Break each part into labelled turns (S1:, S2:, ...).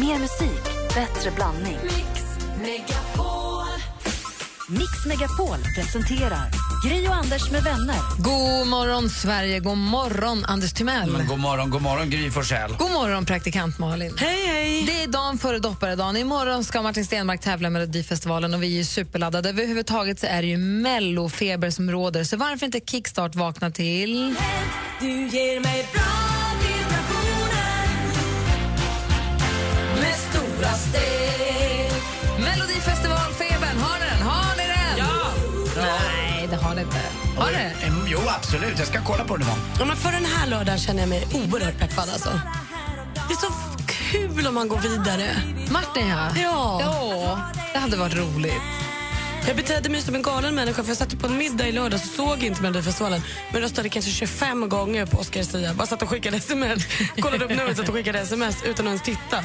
S1: Mer musik, bättre blandning.
S2: Mix Megapol.
S1: Mix Megapol presenterar Gry och Anders med vänner.
S3: God morgon, Sverige. God morgon, Anders Timell.
S2: Mm.
S4: Men god morgon, god morgon Gry Forssell.
S3: God morgon, praktikant Malin.
S5: Hej, hej.
S3: Det är dagen före dopparedagen. Imorgon ska Martin Stenmark tävla i Melodifestivalen och vi är ju superladdade. Överhuvudtaget så är det ju mellofeber som råder, så varför inte kickstart vakna till...
S2: Du ger mig bra vibrationer med stora steg.
S3: Melodifestivalfebern, har ni den? Har ni den? Ja! Nej, det har ni inte. Har ni?
S4: Mm, Jo, absolut. Jag ska kolla på det imorgon.
S5: Ja, men för den här lördagen känner jag mig oerhört peppad. Alltså. Det är så f- kul om man går vidare.
S3: Martin, ja.
S5: Ja.
S3: ja. Det hade varit roligt.
S5: Jag betedde mig som en galen människa för jag satt på en middag i lördags och såg inte Melodifestivalen men röstade kanske 25 gånger på Oscar Sia. Bara satt och skickade sms. Kollade upp numret satt och skickade sms utan att ens titta.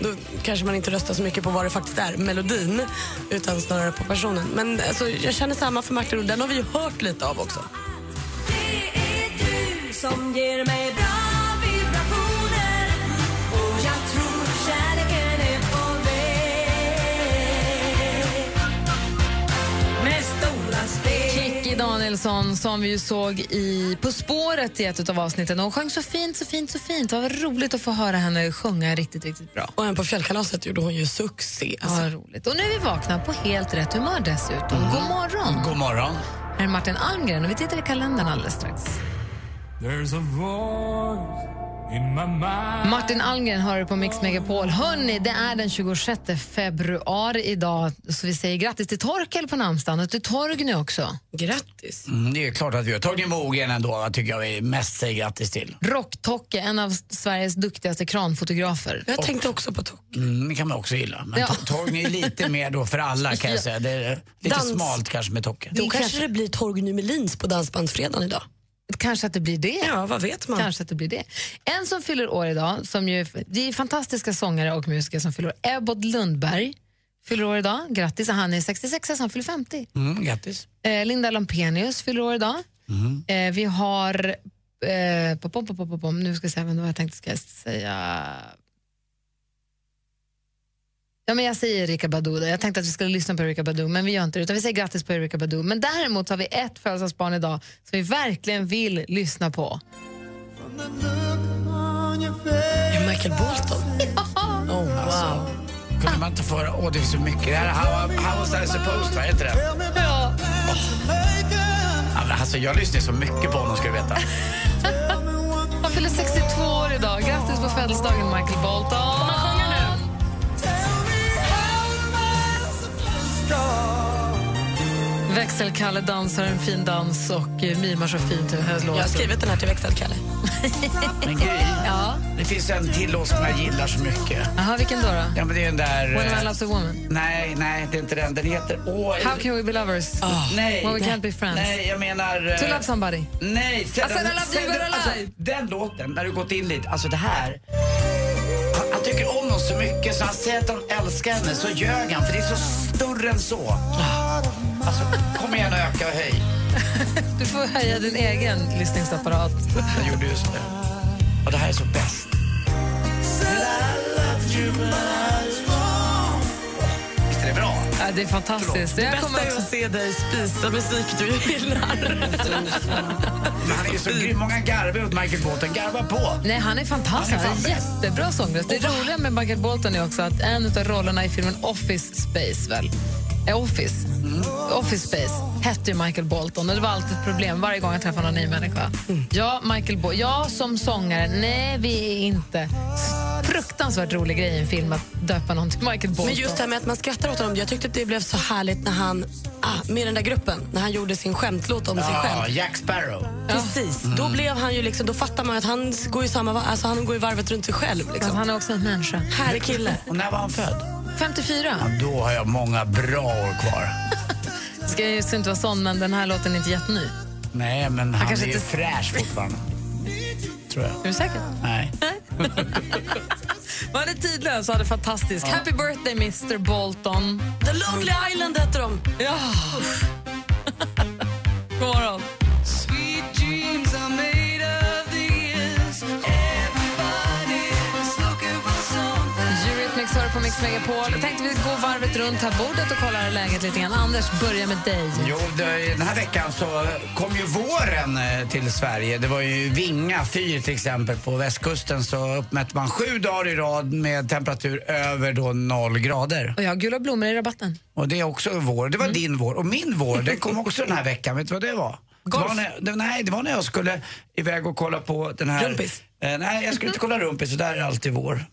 S5: Då kanske man inte röstar så mycket på vad det faktiskt är, melodin, utan snarare på personen. Men alltså, jag känner samma för Martin och den har vi ju hört lite av också.
S2: Det är du som ger mig bra vibrationer och jag tror kärleken är på väg med stora steg.
S3: Kikki Danielsson som vi ju såg i På spåret i ett av avsnitten. Och Hon sjöng så fint, så fint, så fint. Det var roligt att få höra henne sjunga riktigt, riktigt bra.
S5: Och även på fjällkalaset gjorde hon ju succé.
S3: Ja,
S5: Alltså.
S3: roligt. Och nu är vi vakna på helt rätt humör dessutom. God morgon!
S4: God morgon.
S3: Här är Martin Almgren och vi tittar i kalendern alldeles strax.
S6: There's a voice in my mind
S3: Martin Almgren hör du på Mix Megapol. Hörni, det är den 26 februari idag. Så vi säger grattis till Torkel på namnsdagen och till Torgny också.
S5: Grattis!
S4: Mm, det är klart att vi har tagit mogen ändå, vad tycker jag vi mest säger grattis till.
S3: Rocktocke, en av Sveriges duktigaste kranfotografer.
S5: Jag tänkte också på Tok.
S4: Mm, det kan man också gilla. Men
S3: Ja.
S4: ja. Torgny är lite mer då för alla kan jag säga. Det är lite
S5: Dans.
S4: smalt kanske med Tocke.
S5: Då kanske det blir Torgny Melins på Dansbandsfredagen idag.
S3: Kanske att det blir det.
S5: Ja, vad vet man?
S3: Kanske att det blir det. En som fyller år idag, som ju, det är fantastiska sångare och musiker som fyller år. Ebbot Lundberg fyller år idag. Grattis, han är 66 så han fyller 50.
S4: Mm, grattis.
S3: Eh, Linda Lampenius fyller år idag. Eh, vi har... Eh, pop, pop, pop, pop, pop. Nu ska jag säga vem det var jag tänkte ska jag säga. Ja, men jag säger Erika Badu. då. Jag tänkte att vi skulle lyssna på Erika Badu, men vi gör inte det. Utan vi säger grattis på Erika Badu. Men däremot har vi ett födelsedagsbarn idag som vi verkligen vill lyssna på.
S5: Michael Bolton. Oh, wow.
S4: Kunde man inte få höra, åh det är så mycket. Det här är How, how was I supposed, vad heter det?
S3: Ja.
S4: Ja, men Alltså jag lyssnar så mycket på honom ska du veta.
S3: Han fyller 62 år idag. Grattis på födelsedagen, Michael Bolton. Får man sjunga nu? Växelkalle dansar en fin dans och eh, mimar så fint till den här
S5: Jag har
S3: låten.
S5: skrivit den här till växelkalle.
S4: Men Gry, det finns en till låt som jag gillar så mycket.
S3: Aha, vilken då? då?
S4: Ja men det är den där...
S3: When a
S4: eh,
S3: man loves a woman.
S4: Nej, nej det är inte den. Den heter... Åh,
S3: How can we be lovers?
S5: Ah.
S4: nej.
S3: When we can't be friends.
S4: Nej, jag menar... eh,
S3: To love somebody.
S4: Nej, sen,
S3: Alltså, I love you, you're alive.
S4: den låten, när du gått in dit, alltså det här. Han, han tycker om hon så mycket så han säger att han älskar henne, så ljög han för det är så större än så. Alltså, kom igen och öka och höj.
S3: Du får höja din egen lyssningsapparat.
S5: Ah.
S4: Jag gjorde just det. Och det här är så bäst. Åh, Visst är det bra?
S3: Ja, det är fantastiskt. Jag kommer
S5: Bästa är
S3: också...
S5: att se dig spisa musik du gillar.
S4: Men han är ju så grym. Många garvar åt Michael Bolton. Garva på!
S3: Nej, han är fantastisk.
S4: Han är
S3: Han
S4: fan
S3: är jättebra sångröst. Det roliga med Michael Bolton är också att en av rollerna i filmen Office Space, väl? Eh, Office. Office Space hette ju Michael Bolton och det var alltid ett problem varje gång jag träffade någon ny människa. Ja, Michael Bo- jag som sångare, nej vi är inte. Fruktansvärt rolig grej i en film att döpa någon till Michael Bolton.
S5: Men just det här med att man skrattar åt honom. Jag tyckte att det blev så härligt när han, ah, med den där gruppen, när han gjorde sin skämtlåt om sig
S4: Ja,
S5: själv.
S4: Jack Sparrow.
S5: Precis. Då blev han ju liksom, då fattar man ju att han går ju samma, va- alltså han går ju varvet runt sig själv
S3: Alltså,
S5: liksom.
S3: han är också en människa.
S5: Här är kille.
S4: Och när var han född?
S3: 54.
S4: Då har jag många bra år kvar.
S3: Ska jag just inte vara sån, men den här låten är inte jätteny.
S4: Nej, men han,
S3: kanske
S4: är ju
S3: inte-
S4: fräsch fortfarande. Tror jag.
S3: Är du säker?
S4: Nej.
S3: Man är tidlös och hade fantastisk. Happy birthday, Mr Bolton.
S5: The Lonely Island hette de.
S3: Ja. God morgon. Yuri Remix hör på Mix Megapol. Jag tänkte vi gå varvet runt här bordet och kolla läget lite grann. Anders, börja med dig.
S4: Jo, det- den här veckan så kom ju våren eh, till Sverige. Det var ju Vinga fyr till exempel på västkusten så uppmätte man sju dagar i rad med temperatur över då noll grader.
S3: Och jag har gula blommor i rabatten.
S4: Och det är också vår. Det var
S3: Mm.
S4: din vår. Och min vår, den kom också den här veckan. Vet du vad det var? Det var när, det, nej, det var när jag skulle iväg och kolla på den här...
S5: Rumpis.
S4: Eh, nej, jag skulle inte kolla rumpis, så där är alltid vår.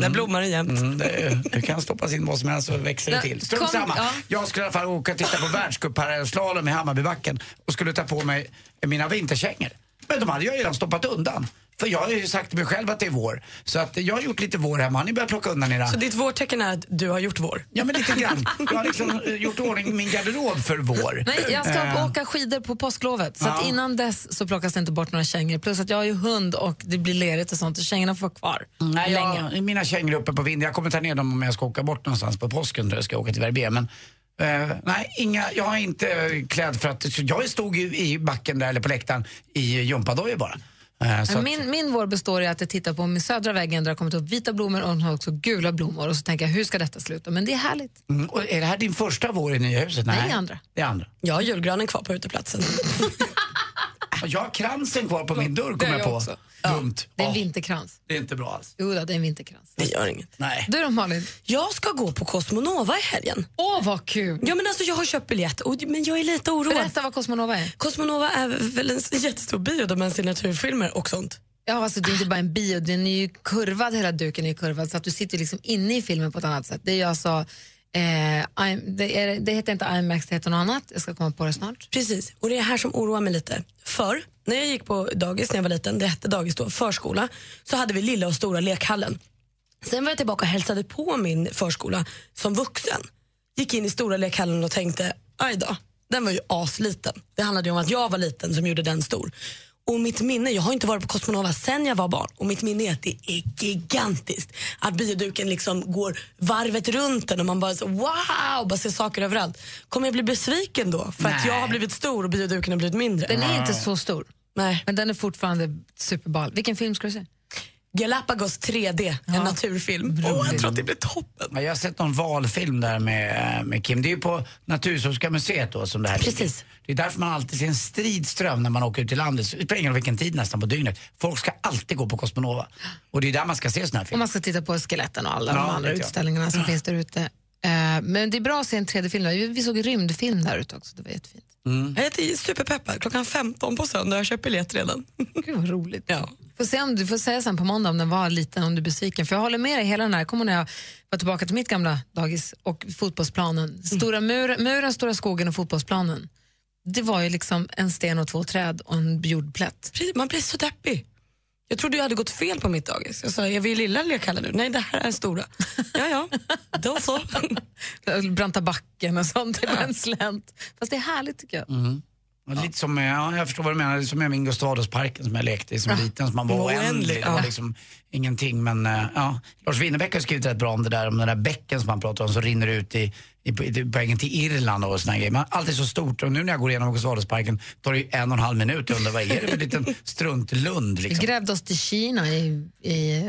S5: Där blommar det jämt.
S4: Mm, det, du kan stoppas in vad som helst så växer det
S3: Nej,
S4: till. Strunt
S3: kom-
S4: samma.
S3: ja.
S4: Jag skulle i alla fall åka och titta på världscupparallellslalom i Hammarbybacken och skulle ta på mig mina vinterkängor. Men de hade jag ju redan stoppat undan. För jag har ju sagt till mig själv att det är vår. Så att jag har gjort lite vår hemma. Har ni börjat plocka undan era...
S5: Så ditt vårtecken är att du har gjort vår.
S4: Ja men lite grann. Jag har liksom eh, gjort i ordning min garderob för vår.
S3: Nej, jag ska
S4: Eh,
S3: åka skidor på påsklovet. Så att
S4: Ja.
S3: innan dess så plockas det inte bort några kängor. Plus att jag har ju hund och det blir lerigt och sånt. Och kängorna får vara kvar
S4: Nej,
S3: Mm, länge.
S4: jag, mina kängor är uppe på vinden. Jag kommer ta ner dem om jag ska åka bort någonstans på påsken. Då jag ska åka till Verbier. Men eh, nej, inga, jag är inte eh, klädd för att... så Jag stod ju i backen där, eller på läktaren, i gympadojor bara. Eh, så att-
S3: Min, min vår består i att jag tittar på min södra väggen där det har kommit upp vita blommor och hon har också gula blommor. Och så tänker jag, hur ska detta sluta? Men det är härligt.
S4: mm, och är det här din första vår i nya huset?
S3: Nej, andra.
S4: Det är andra.
S5: Jag har julgranen kvar på uteplatsen.
S4: Och jag har kransen kvar på min dörr,
S3: Det
S4: kommer
S3: har
S4: jag
S3: jag
S4: på.
S3: också.
S4: Dumt.
S3: Det är en
S4: Åh,
S3: vinterkrans.
S4: det är inte bra alls.
S3: Jo, då, det är en vinterkrans.
S5: Det gör inget.
S4: Nej.
S3: Du då Malin?
S5: Jag ska gå på Cosmonova i helgen.
S3: Åh, vad kul!
S5: Ja, men alltså, jag har köpt biljett, och, men jag är lite oroad.
S3: Berätta vad Cosmonova är.
S5: Cosmonova är väl en jättestor bio där man ser naturfilmer och sånt.
S3: Ja, alltså, det är inte bara en bio, den är ju kurvad, hela duken är ju kurvad så att du sitter liksom inne i filmen på ett annat sätt. Det är ju alltså, eh, I- det, är, det heter inte IMAX, det heter något annat. Jag ska komma på det snart.
S5: Precis, och det är det här som oroar mig lite. För när jag gick på dagis när jag var liten, det hette dagis då, förskola, så hade vi lilla och stora lekhallen. Sen var jag tillbaka och hälsade på min förskola som vuxen. Gick in i stora lekhallen och tänkte, aj då, den var ju asliten. Det handlade ju om att jag var liten som gjorde den stor. Och mitt minne, jag har inte varit på Cosmonova sen jag var barn och mitt minne är att det är gigantiskt. Att bioduken liksom går varvet runt den och man bara så, wow, bara ser saker överallt. Kommer jag bli besviken då? För att
S4: Nej.
S5: jag har blivit stor och bioduken har blivit mindre?
S3: Den är inte så stor,
S5: Nej.
S3: men den är fortfarande superball. Vilken film ska du se?
S5: Galapagos 3D, en naturfilm. Åh, jag tror att det blir toppen.
S4: Ja, Mm. Jag har sett någon valfilm där med, med Kim. Det är ju på Naturhistoriska museet då som det här ligger.
S5: Precis.
S4: Det är därför man alltid ser en strid ström när man åker ut till landet. Så Det spelar ingen roll vilken tid nästan på dygnet. Folk ska alltid gå på Cosmonova. Och det är där man ska se såna här
S3: Om
S4: filmer.
S3: man ska titta på skeletten och alla
S4: Ja,
S3: de andra
S4: vet jag.
S3: utställningarna som finns där ute. Eh, men det är bra att se en 3D-film. Vi vi såg en rymdfilm där ute också, det var jättefint.
S5: Mm. Jag är superpeppad. Klockan 15 på söndag. Jag köper biljett redan.
S3: Gud vad roligt.
S5: Ja.
S3: Får se om, du får säga sen på måndag om den var liten, om du är besviken. För jag håller med dig hela den här. Jag kommer när jag var tillbaka till mitt gamla dagis och fotbollsplanen. Stora mur, muren, stora skogen och fotbollsplanen. Det var ju liksom en sten och två träd och en jordplätt.
S5: Precis, Man blir så deppig. Jag trodde jag hade gått fel på mitt dagis. Jag sa, är vi i lilla lekhallen nu? Nej, det här är stora. Ja, ja, då så.
S3: Branta backen och sånt, det var en slänt. Fast det är härligt tycker jag.
S4: Och Lite som, med- ja, jag förstår vad du menar. Det är som med min Gustavusparken som jag lekte i som liten. Som man var
S5: Oändlig.
S4: oändlig. Det var liksom ingenting. Men eh, ja, Lars Winnerbäck har skrivit rätt bra om det där. Om den där bäcken som man pratar om som rinner ut i, i, i på vägen till Irland och såna här grejer. Men allt är så stort. Och nu när jag går igenom Gustavusparken tar det ju en och en halv minut. Jag undrar vad är det för en liten struntlund
S3: Vi
S4: liksom.
S3: grävde oss till Kina i, i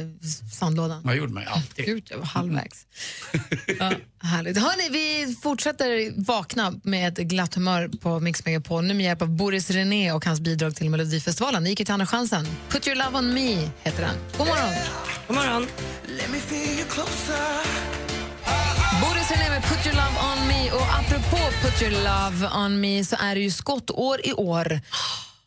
S3: sandlådan.
S4: Vad gjorde man ju alltid.
S3: Gud, jag var halvvägs. Ja, härligt. Hörrni, vi fortsätter vakna med ett glatt humör på Mix Megapol nu med hjälp av Boris René och hans bidrag till Melodifestivalen. Ni gick ju till Andra chansen. Put your love on me heter den. God morgon!
S5: God morgon.
S3: Boris René med Put your love on me. Och apropå Put your love on me så är det ju skottår i år.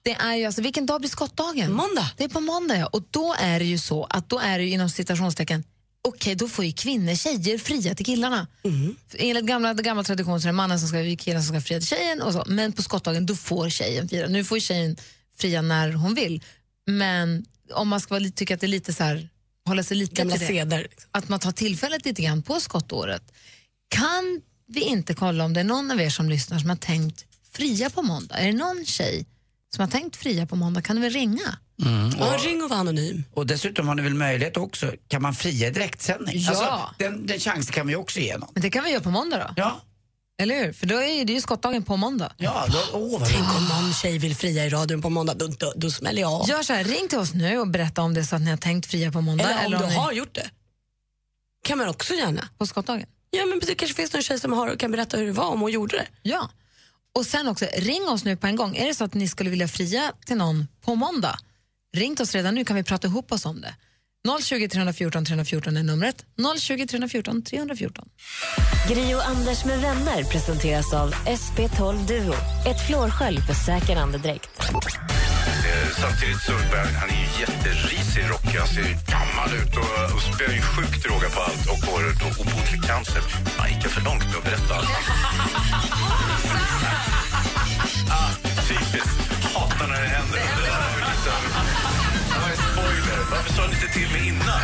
S3: Det är ju alltså, vilken dag blir skottdagen?
S5: Måndag.
S3: Det är på måndag, ja. Och då är det ju så att då är det ju inom citationstecken Okej, då får ju kvinnor, tjejer fria till killarna.
S5: Mm.
S3: För Enligt gamla, gamla tradition så är det mannen som ska, killen som ska fria till tjejen. Och så. Men på skottdagen, då får tjejen fira. Nu får ju tjejen fria när hon vill. Men om man ska vara, lite- tycka att det är lite så här, hålla sig lite
S5: Gamla
S3: till det
S5: seder. liksom.
S3: att man tar tillfället lite grann på skottåret. Kan vi inte kolla om det är någon av er som lyssnar som har tänkt fria på måndag? Är det någon tjej som har tänkt fria på måndag? Kan du väl ringa?
S5: Mm. Ja, ring och var anonym.
S4: Och dessutom har ni väl möjlighet också, kan man fria i direktsändning?
S3: Ja.
S4: Alltså, den, den chansen kan vi också ge någon.
S3: Men det kan vi göra på måndag då,
S4: Ja,
S3: eller hur? För då är det ju skottdagen på måndag.
S4: ja då, åh, vad
S5: Tänk om någon tjej vill fria i radion på måndag, då, då, då smäller jag av.
S3: Gör så här, ring till oss nu och berätta om det är så att ni har tänkt fria på måndag.
S5: Eller om du
S3: ni...
S5: har gjort det. kan man också gärna.
S7: på skottdagen.
S5: Ja, men det kanske finns någon tjej som har, kan berätta hur det var om hon gjorde det.
S7: Ja. Och sen också, ring oss nu på en gång. Är det så att ni skulle vilja fria till någon på måndag? Ring oss redan nu kan vi prata ihop oss om det. 020 314 314 är numret. 020 314 314.
S1: Gri och Anders med vänner presenteras av SP12 Duo. Ett flårskölj för säker andedräkt.
S8: Eh, Samtidigt så är han är ju jätterisig Rocky. Han ser ju gammal ut och, och spöar ju sjukt råga på allt och har då obotlig cancer. Man gick ju för långt med att berätta allt. ah, typiskt. Hatar när det händer. Det där var ju liksom... Det var en spoiler. Varför sa ni inte till mig innan?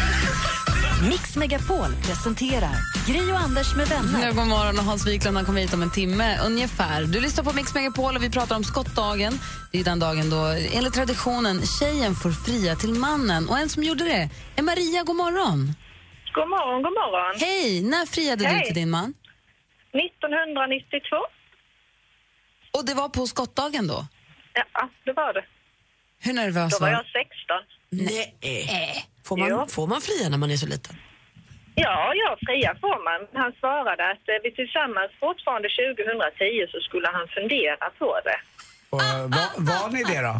S1: Mix Megapol presenterar Gri och Anders med vänner.
S3: Ja, god morgon. Och Hans Wiklund han kommer hit om en timme ungefär. Du lyssnar på Mix Megapol och vi pratar om skottdagen. Det är den dagen då, enligt traditionen, tjejen får fria till mannen. Och en som gjorde det är Maria. God morgon.
S9: God morgon, god morgon.
S3: Hej! När friade du
S9: Hej.
S3: till din man?
S9: 1992?
S3: Och det var på skottdagen då?
S9: Ja, ah, det var det.
S7: Hur nervös
S9: Då var
S7: var du?
S9: jag 16.
S5: Får man,
S9: Ja.
S5: får man fria när man är så liten?
S9: Ja, ja, fria får man. Han svarade att eh, vi tillsammans fortfarande 2010 så skulle han fundera på det.
S4: Och, eh, var, var ni det då?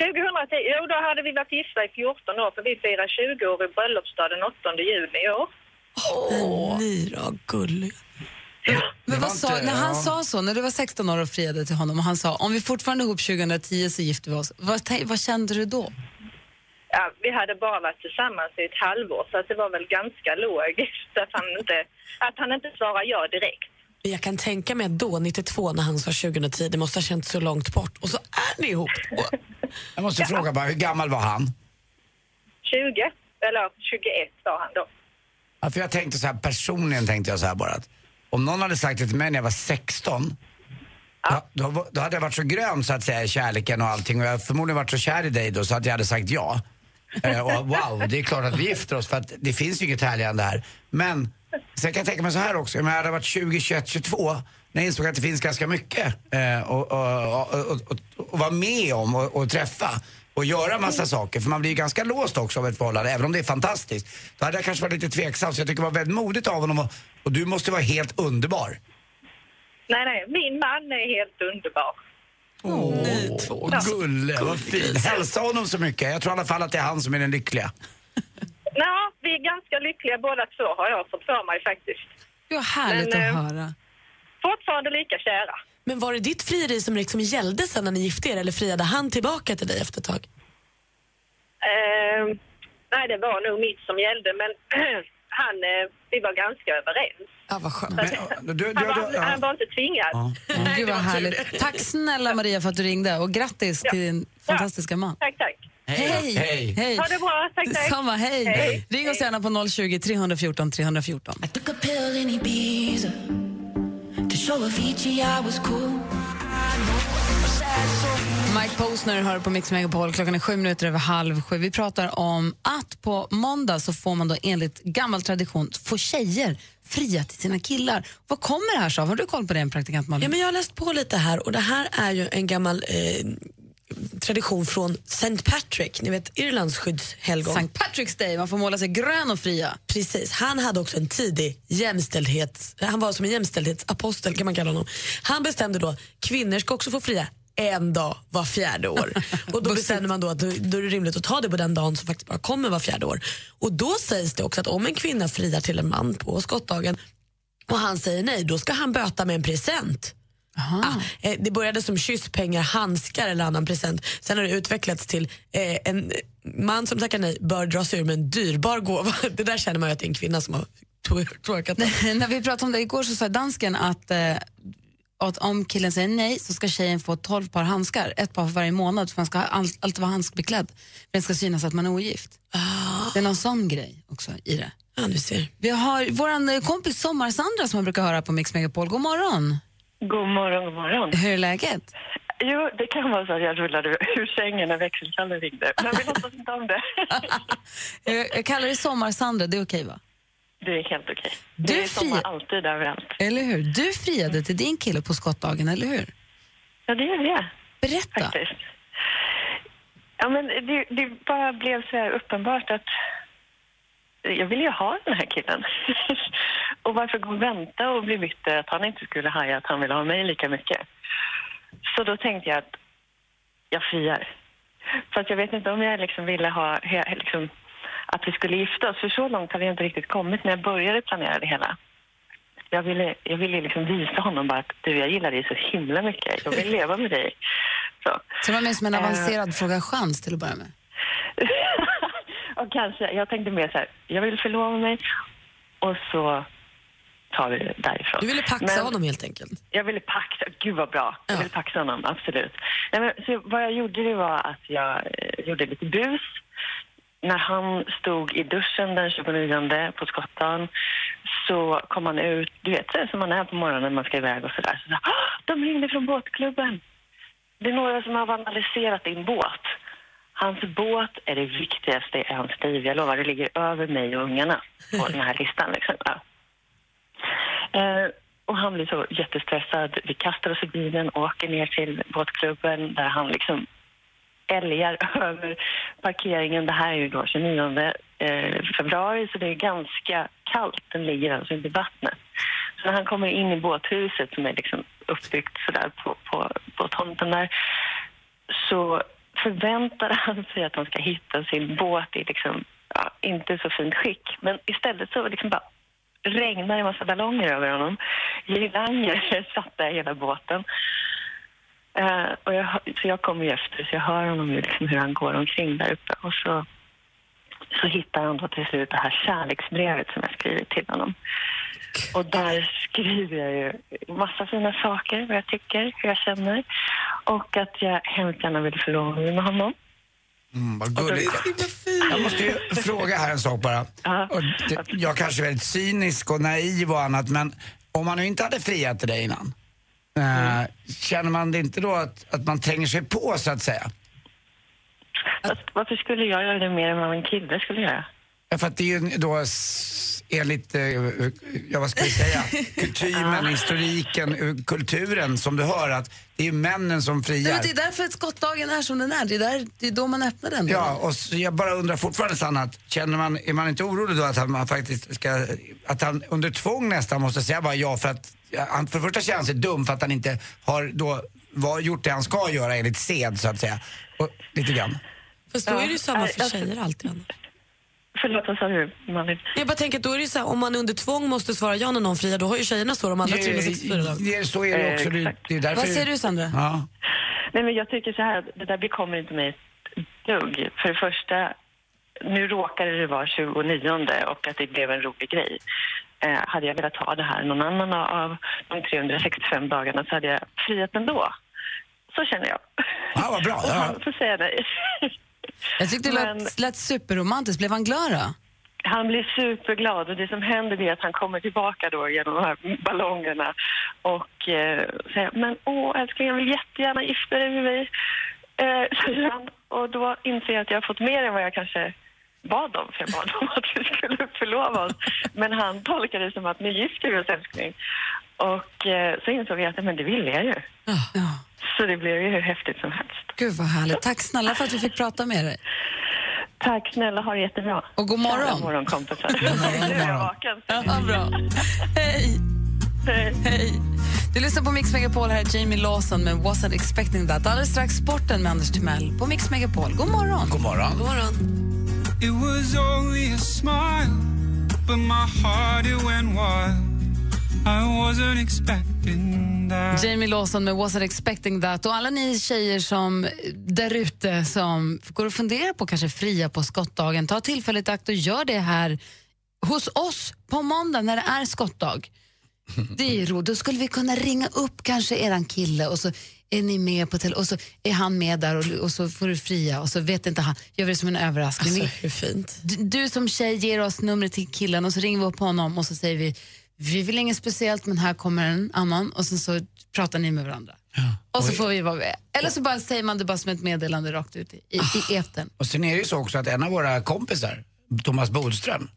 S9: 2010, jo då hade vi varit gifta i 14 år för vi firar 20 år i bröllopsdag den 8 juni i år.
S5: Ni då, gulliga.
S3: Men
S4: Det var
S3: vad sa,
S4: inte-
S3: när han
S4: ja.
S3: sa så, när du var 16 år och friade till honom och han sa om vi fortfarande är ihop 2010 så gifter vi oss. Vad, tän- vad kände du då?
S9: Ja, vi hade bara varit tillsammans i ett halvår så att det var väl ganska logiskt att han inte, att han inte svarade ja direkt.
S5: Jag kan tänka mig att då, 92, när han sa 2010, det måste ha känts så långt bort. Och så är ni ihop. Och-
S4: Jag måste fråga bara, hur gammal var han?
S9: 20, eller 21 sa han då.
S4: Ja, för jag tänkte så här, personligen tänkte jag så här bara att om någon hade sagt det till mig när jag var 16 ja. då, var- då hade jag varit så grön så att säga i kärleken och allting och jag hade förmodligen varit så kär i dig då så att jag hade sagt ja. Eh, och wow, det är klart att vi gifter oss för att det finns ju inget härligare än det här. Men sen kan jag tänka mig så här också, om jag hade varit 20, 21, 22 när jag insåg att det finns ganska mycket eh, och, och, och, och, och, och vara med om och, och träffa och göra massa saker, för man blir ju ganska låst också av ett förhållande, även om det är fantastiskt. Då hade jag kanske varit lite tveksam, så jag tycker det var väldigt modigt av honom och, och du måste vara helt underbar.
S9: Nej, nej, min man är helt underbar.
S4: Åh, oh, gulle, vad fint. Hälsa honom så mycket. Jag tror i alla fall att det är han som är den lyckliga.
S9: Ja, vi är ganska lyckliga båda två har jag fått för mig faktiskt.
S3: Det var härligt
S9: Men, eh,
S3: att höra.
S9: Fortfarande lika kära.
S5: Men var det ditt frieri som liksom gällde sen när ni gifte er eller friade han tillbaka till dig efter ett tag?
S9: Ehm, nej, det var nog mitt som gällde men han, eh, vi var ganska överens.
S5: Ja, vad skönt.
S4: Men, ja, du, du, du,
S9: Han var,
S4: ja.
S9: han var inte tvingad.
S3: Gud vad härligt. Tack snälla Maria för att du ringde och grattis till din fantastiska man.
S9: Tack, tack.
S3: Hej!
S4: Hej.
S3: Hej.
S9: Ha det bra, tack, tack.
S3: Detsamma, hej. Ring oss gärna på 020 314 314. Mike Posner hör på Mix Megapol. Klockan är sju minuter över halv sju. Vi pratar om att på måndag så får man då enligt gammal tradition få tjejer fria till sina killar. Vad kommer det här sig av? Har du koll på det, en praktikant Malin?
S5: Ja, men jag har läst på lite här och det här är ju en gammal eh, tradition från St. Patrick, ni vet Irlands skyddshelgon.
S3: St. Patrick's Day, man får måla sig grön och fria.
S5: Precis, han hade också en tidig jämställdhets... Han var som en jämställdhetsapostel kan man kalla honom. Han bestämde då kvinnor ska också få fria en dag var fjärde år. Och då bestämde man då att då då är det rimligt att ta det på den dagen som faktiskt bara kommer var fjärde år. Och då sägs det också att om en kvinna friar till en man på skottdagen och han säger nej, då ska han böta med en present. Ah, eh, det började som kysspengar, handskar eller annan present. Sen har det utvecklats till eh, en man som tackar nej bör dra sig ur med en dyrbar gåva. Det där känner man ju att det är en kvinna som har twer- twerkat. det.
S3: Ah, När vi pratade om det igår så sa dansken att, eh, att om killen säger nej så ska tjejen få 12 par handskar, ett par för varje månad för man ska all, alltid vara handskbeklädd. För den ska synas att man är ogift. Det är någon sån grej också i det.
S5: Ja, du ser.
S3: Vi har vår kompis Sommar-Sandra som man brukar höra på Mix Megapol. God morgon!
S10: God morgon, god morgon.
S3: Hur är läget?
S10: Jo, det kan vara så att jag rullade ur sängen när växelkallen ringde. Men vi låtsas inte om det.
S3: Eh, Jag kallar dig Sommar-Sandra, det är okej va?
S10: Det är helt okej.
S3: Du
S10: Det är sommar
S3: fri-
S10: alltid överallt.
S3: Eller hur? Du friade till din kille på skottdagen, eller hur?
S10: Ja, det är det
S3: Berätta!
S10: faktiskt. Ja, men det, det bara blev så här uppenbart att jag ville ju ha den här killen. och varför gå och vänta och bli bitter att han inte skulle haja att han ville ha mig lika mycket? Så då tänkte jag att jag friar. Fast jag vet inte om jag liksom ville ha, he- liksom, att vi skulle gifta oss, för så långt hade jag inte riktigt kommit när jag började planera det hela. Jag ville, jag ville liksom visa honom bara att du, jag gillar dig så himla mycket. Jag vill leva med dig. Så.
S3: Så det var mer som en
S10: Eh,
S3: avancerad fråga chans till att börja med.
S10: och kanske, jag tänkte mer så här, jag vill förlova mig och så tar vi det därifrån.
S5: Du ville paxa
S10: Men-
S5: honom helt enkelt.
S10: Jag ville paxa, gud vad bra. Jag ville paxa honom, absolut. Nej, men, så vad jag gjorde det var att jag eh, gjorde lite bus. När han stod i duschen den 29 på Skottdagen så kom han ut, du vet så här som man är på morgonen när man ska iväg och sådär. Så, där. så "Ah, de ringde från båtklubben. Det är några som har vandaliserat din båt. Hans båt är det viktigaste i hans liv. Jag lovar, det ligger över mig och ungarna på den här listan. Liksom. Ja. Eh, och han blir så jättestressad. Vi kastar oss i bilen och åker ner till båtklubben där han liksom älgar över parkeringen. Det här är ju då 29 eh, februari, så det är ganska kallt. Den ligger alltså inte i vattnet. Så när han kommer in i båthuset som är liksom uppbyggt sådär på, på, på tomten där så förväntar han sig att han ska hitta sin båt i liksom, ja, inte så fint skick. Men istället så liksom bara regnar det en massa ballonger över honom. Girlanger satta i hela båten. Eh, och jag, hör- så jag kommer ju efter, så jag hör honom ju liksom hur han går omkring där uppe. Och så, så hittar han då till slut det här kärleksbrevet som jag skrivit till honom. Och där skriver jag ju massa fina saker, vad jag tycker, hur jag känner. Och att jag hemskt gärna vill förlova mig med honom.
S4: Mm,
S3: Alltså,
S4: vad gulligt. Jag måste ju fråga här en sak bara. Och det- Jag kanske är väldigt cynisk och naiv och annat, men om man nu inte hade friat till dig innan, eh,
S3: Mm.
S4: känner man det inte då att, att man tränger sig på så att säga?
S10: Fast Varför skulle jag göra det mer än vad en kille skulle göra?
S4: Ja, för att det är ju då s- enligt, eh, ja vad ska vi säga, kutymen, historiken, eh, kulturen som du hör att det är ju männen som
S3: Nej,
S4: friar.
S3: men det är därför skottdagen är som den är. Det är, där, det är då man öppnar den.
S4: Ja, och så jag bara undrar fortfarande Sanna, att känner man, är man inte orolig då att han man faktiskt ska, att han under tvång nästan måste säga bara ja för att, ja, han för det första känner han sig dum för att han inte har då var, gjort det han ska göra enligt sed så att säga. Och, lite grann.
S5: Fast då
S10: Ja.
S5: är det ju samma
S10: Nej,
S5: för
S10: alltså-
S5: tjejer alltid. Anna.
S10: Förlåt, vad sa du, Malin?
S5: Jag bara tänker att då är det ju så här, om man under tvång måste svara ja när någon friar, då har ju tjejerna så de andra 364 dagarna.
S4: Det, så är det också. Det, det är därför,
S5: Vad säger du, Sandra?
S4: Ja.
S10: Nej, men jag tycker så här, det där bekommer inte mig ett dugg. För det första, nu råkade det vara 29 och att det blev en rolig grej. Eh, hade jag velat ha det här någon annan av de 365 dagarna så hade jag friat ändå. Så känner jag.
S4: Ja, vad bra.
S10: Och
S4: Ja.
S10: han får säga nej.
S3: Jag tyckte det
S10: Men-
S3: lät, lät superromantiskt. Blev han glad då?
S10: Han blir superglad och det som händer är att han kommer tillbaka då genom de här ballongerna och eh, säger men åh älskling jag vill jättegärna gifta dig med mig. Eh, säger han. Och då inser jag att jag har fått mer än vad jag kanske bad om, för jag bad om att vi skulle förlova oss. Men han tolkade det som att nu gifter vi oss älskling. Och eh, så insåg jag att men det ville jag ju.
S3: Ja.
S10: Så det blev ju hur häftigt som helst.
S3: Gud vad härligt. Tack snälla för att vi fick prata med dig.
S10: Tack snälla, ha det jättebra.
S3: Och god morgon.
S10: God morgon kompisar. Nu är jag vaken. Eh,
S3: Ja, bra. Hej. Hej. Du lyssnar på Mix Megapol. Här är Jamie Lawson med Wasn't expecting that. Alldeles strax sporten med Anders Timell på Mix Megapol. God morgon.
S4: God morgon.
S5: God morgon.
S6: It was only a smile, but my heart it went wild. I wasn't expecting that.
S3: Jamie Lawson med Wasn't expecting that. Och alla ni tjejer som eh, där ute som går och funderar på kanske fria på skottdagen, ta tillfället i akt och gör det här hos oss på måndag när det är skottdag. Det är roligt. Då skulle vi kunna ringa upp kanske eran kille och så är ni med på tele- och så är han med där och, och så får du fria och så vet inte han. Gör vi det som en överraskning.
S5: Alltså
S3: Vi-
S5: hur fint.
S3: du, du som tjej ger oss numret till killen och så ringer vi upp honom och så säger vi vi vill inget speciellt men här kommer en annan och sen så pratar ni med varandra. Och så får vi vara med. Eller så bara säger man det bara som ett meddelande rakt ut i, i, i etern.
S4: Och sen är det ju så också att en av våra kompisar, Thomas Bodström,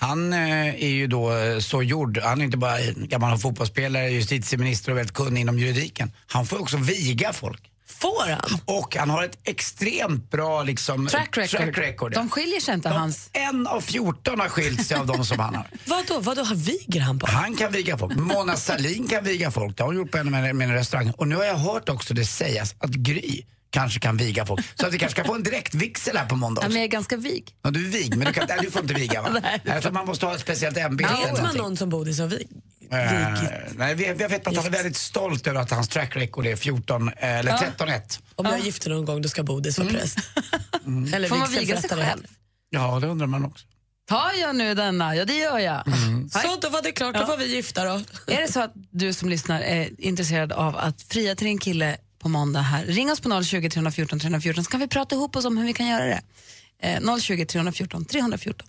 S4: han eh, är ju då eh, så gjord, han är inte bara en gammal fotbollsspelare, justitieminister och väldigt kunnig inom juridiken. Han får ju också viga folk.
S5: Får han?
S4: Och han har ett extremt bra liksom,
S3: Track record.
S4: track record, ja.
S3: De skiljer sig inte hans...
S4: En av 14 har skilt sig av de som han har.
S5: Vadå, vadå, han viger han bara?
S4: Han kan viga folk. Mona Sahlin kan viga folk. Det har hon gjort på en av mina- mina restauranger. Och nu har jag hört också det sägas att Gry kanske kan viga folk. Så att vi kanske kan få en direktvigsel här på måndag
S3: Ja,
S4: också.
S3: men jag är ganska vig.
S4: Ja, du är vig, men du, kan, nej, du får inte viga va? Nej, för man måste ha ett speciellt ämbete. eller
S5: Vet man
S4: någonting.
S5: någon som Bodil som vig?
S4: Eh,
S5: vigigt?
S4: nej, vi- jag vet att han är väldigt stolt över att hans track record är 14, eh, eller 13-1.
S5: Om jag gifter någon gång då ska Bodil vara präst. Eller
S3: Får man viga sig
S5: vigselförrättare.
S3: själv?
S4: Ja, det undrar man också.
S3: Tar jag nu denna? Ja, det gör jag.
S5: Så då var det klart, då var vi gifta då.
S3: Är det så att du som lyssnar är intresserad av att fria till din kille på måndag här, ring oss på 020 314 314 så kan vi prata ihop oss om hur vi kan göra det. Eh, 020 314 314.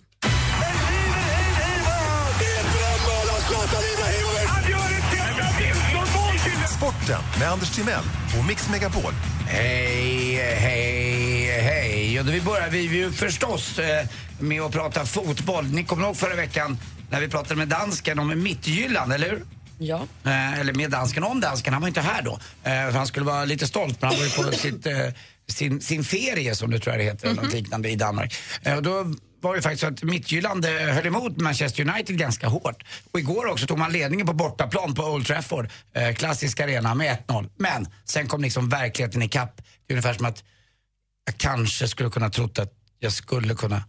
S8: Sporten med Anders Timell och Mix Megapol.
S4: Hej, hej, hej. Och då vi börjar vi ju förstås eh, med att prata fotboll. Ni kommer ihåg förra veckan när vi pratade med dansken om Mittjylland, eller hur?
S5: Ja.
S4: Eh, eller med dansken om dansken. Han var inte här då. Eh, för han skulle vara lite stolt, men han var ju på sitt, eh, sin, sin ferie som det tror jag det heter, eller något liknande i Danmark. Eh, och då var det faktiskt så att Midtjylland eh, höll emot Manchester United ganska hårt. Och igår också tog man ledningen på bortaplan på Old Trafford, eh, klassisk arena, med 1-0. Men sen kom liksom verkligheten ikapp. Det är ungefär som att jag kanske skulle kunna trott att jag skulle kunna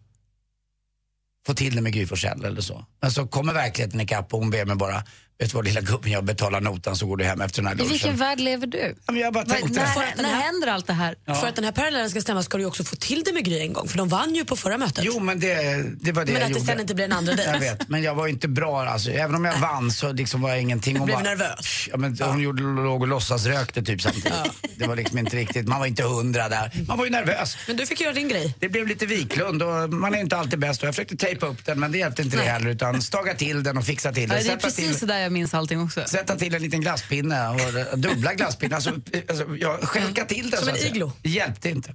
S4: få till det med Gry Forssell eller så. Men så kommer verkligheten ikapp och hon ber mig bara, vet du vad lilla gubben, jag betalar notan så går du hem efter den här
S3: I
S4: lunchen.
S3: vilken värld lever du?
S4: Ja, men jag bara
S3: Vad-
S4: tänkte,
S3: När, när händer allt det här?
S5: För att den här parallellen ska stämma ska du ju också få till det med Gry en gång, för de vann ju på förra mötet.
S4: jo men det, det var det jag
S5: Men att det
S4: gjorde.
S5: sen inte blir en andra
S4: Jag
S5: dejt.
S4: vet, men jag var inte bra alltså. Även om jag vann så liksom var jag ingenting. Hon
S5: blev
S4: bara-
S5: nervös.
S4: Ja, men hon gjorde, låg och låtsasrökte typ samtidigt. Det var liksom inte riktigt, man var inte hundra där. Man var ju nervös.
S5: Men du fick göra din grej.
S4: Det blev lite Wiklund och man är inte alltid bäst. Och jag försökte tejpa upp den men det hjälpte inte det heller utan staga till den och fixa till
S3: Ja,
S4: den.
S3: det är
S4: Sätta till-
S3: precis så där jag minns allting också.
S4: sätta till en liten glasspinne och eh, dubbla glasspinnar. Alltså, eh, alltså, jag skänka till den.
S5: Som
S4: så
S5: en
S4: att säga.
S5: iglo.
S4: Det hjälpte inte.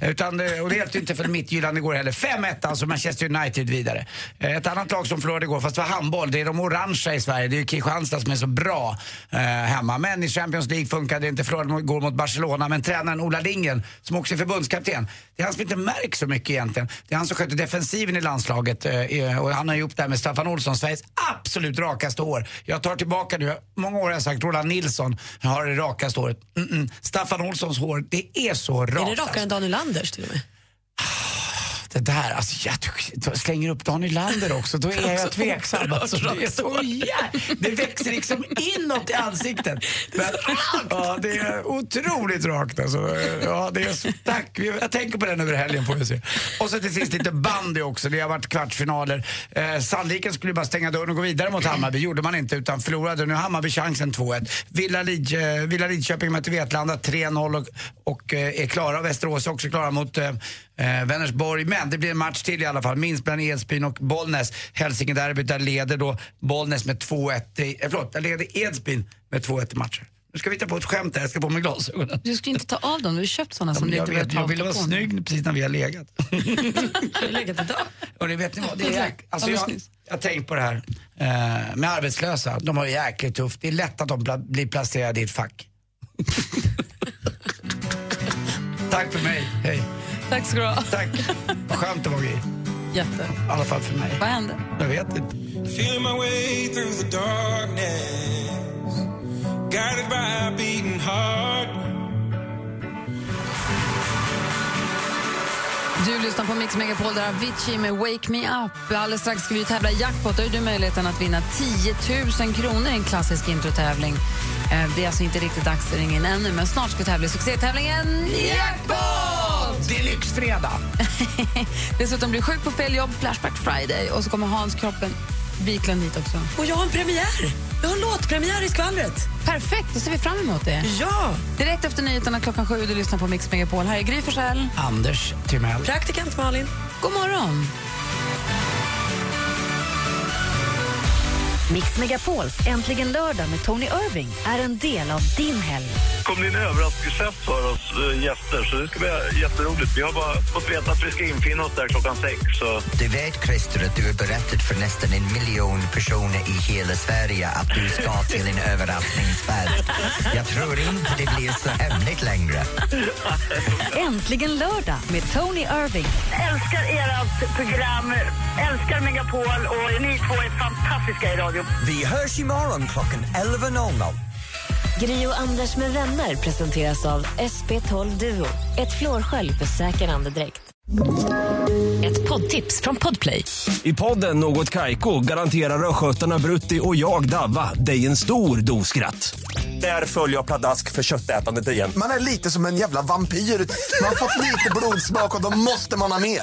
S4: Utan, eh, och det hjälpte inte för mitt gillande igår heller. 5-1 alltså Manchester United vidare. Eh, Ett annat lag som förlorade igår, fast det var handboll, det är de orangea i Sverige. Det är ju Kristianstad som är så bra eh, hemma. Men i Champions League funkade det inte. Förlorade mot- igår mot Barcelona. Men tränaren Ola Lindgren, som också är förbundskapten, det är han som inte märks så mycket egentligen. Det är han som sköter defensiven i landslaget eh, eh, och han har gjort det här med Staffan Olsson, Sveriges absolut rakaste år. Jag tar tillbaka nu, många år har jag sagt Roland Nilsson har det rakaste håret. Mm-mm. Staffan Olssons hår, det är så rakt.
S5: Är det rakare än Dan Nylanders till och med?
S4: alltså. Det där, alltså jag t- slänger upp Dan Nylander också, då är jag tveksam. Alltså, det, är så, jä- det växer liksom inåt i ansiktet. Men, ja, det är otroligt rakt alltså. Ja, det är så, tack, jag tänker på den över helgen får vi se. Och så till sist lite bandy också, det har varit kvartsfinaler. Eh, Sandviken skulle ju bara stänga dörren och gå vidare mot Hammarby, gjorde man inte utan förlorade. Nu har Hammarby chansen 2-1. Villa, Lid, eh, Villa Lidköping möter Vetlanda 3-0 och, och eh, är klara. Västerås är också klara mot eh, eh, Vänersborg. Men det blir en match till i alla fall, minst mellan Edsbyn och Bollnäs. Hälsingederbyt, där leder då Bollnäs med 2-1, i- eh, förlåt, där leder Edsbyn med 2-1 i matcher. Nu ska vi ta på ett skämt här, jag ska på mig glasögonen.
S3: Du skulle inte ta av dem, du har köpt såna som du
S4: Jag,
S3: inte
S4: vet,
S3: behöver
S4: jag
S3: ta
S4: ville
S3: av
S4: vara
S3: på.
S4: snygg precis när vi har legat.
S5: Har du legat idag?
S4: Och det vet ni vad, det är jäk- alltså
S3: Alldeles
S4: jag,
S3: nyss.
S4: jag har tänkt på det här eh, med arbetslösa. De har det jäkligt tufft. Det är lätt att de pla- blir placerade i ett fack. Tack för mig. Hej.
S3: Tack ska du ha.
S4: Tack. Vad skönt det var, Gry.
S3: Jätte.
S4: I alla fall för mig.
S3: Vad hände?
S4: Jag vet inte.
S6: Feeling my way through the darkness, guided by a beating heart.
S3: Du lyssnar på Mix Megapol, där Avicii med Wake Me Up. Alldeles strax ska vi tävla i jackpot. Då har du möjligheten att vinna 10 000 kronor i en klassisk introtävling. Eh, Det är alltså inte riktigt dags att ringa in ännu, men snart ska vi tävla i succétävlingen Jackpot!
S4: Det är lyxfredag.
S3: Dessutom blir sjuk på fel jobb, Flashback Friday och så kommer Hans Kroppen Wiklund hit också.
S5: Och jag har en premiär! Jag har en låtpremiär i skvallret.
S3: Perfekt, då ser vi fram emot det.
S5: Ja!
S3: Direkt efter nyheterna klockan sju, du lyssnar på Mix Megapol. Här är Gry Forssell.
S4: Anders Timell.
S5: Praktikant Malin.
S3: God morgon!
S1: Mix Megapols Äntligen lördag med Tony Irving är en del av din helg.
S8: kommer bli en överraskningsfest för oss eh, gäster, så det ska bli jätteroligt. Vi har bara fått veta att vi ska infinna oss där klockan sex. Så.
S4: Du vet, Christer, att du har berättat för nästan en miljon personer i hela Sverige att du ska till en överraskningsfest. Jag tror inte det blir så hemligt längre.
S1: Äntligen lördag med Tony Irving.
S11: Älskar ert program, älskar Megapol och ni två är fantastiska i radio.
S12: Vi hörs imorgon klockan 11.00.
S1: Gri och Anders med vänner presenteras av SP12 Duo. Ett flårskölj för säker andedräkt. Ett poddtips från Podplay.
S6: I podden Något Kaiko garanterar östgötarna Brutti och jag, Davva, dig en stor dos skratt. Där följer jag pladask för köttätandet igen.
S13: Man är lite som en jävla vampyr. Man har fått lite blodsmak och då måste man ha mer.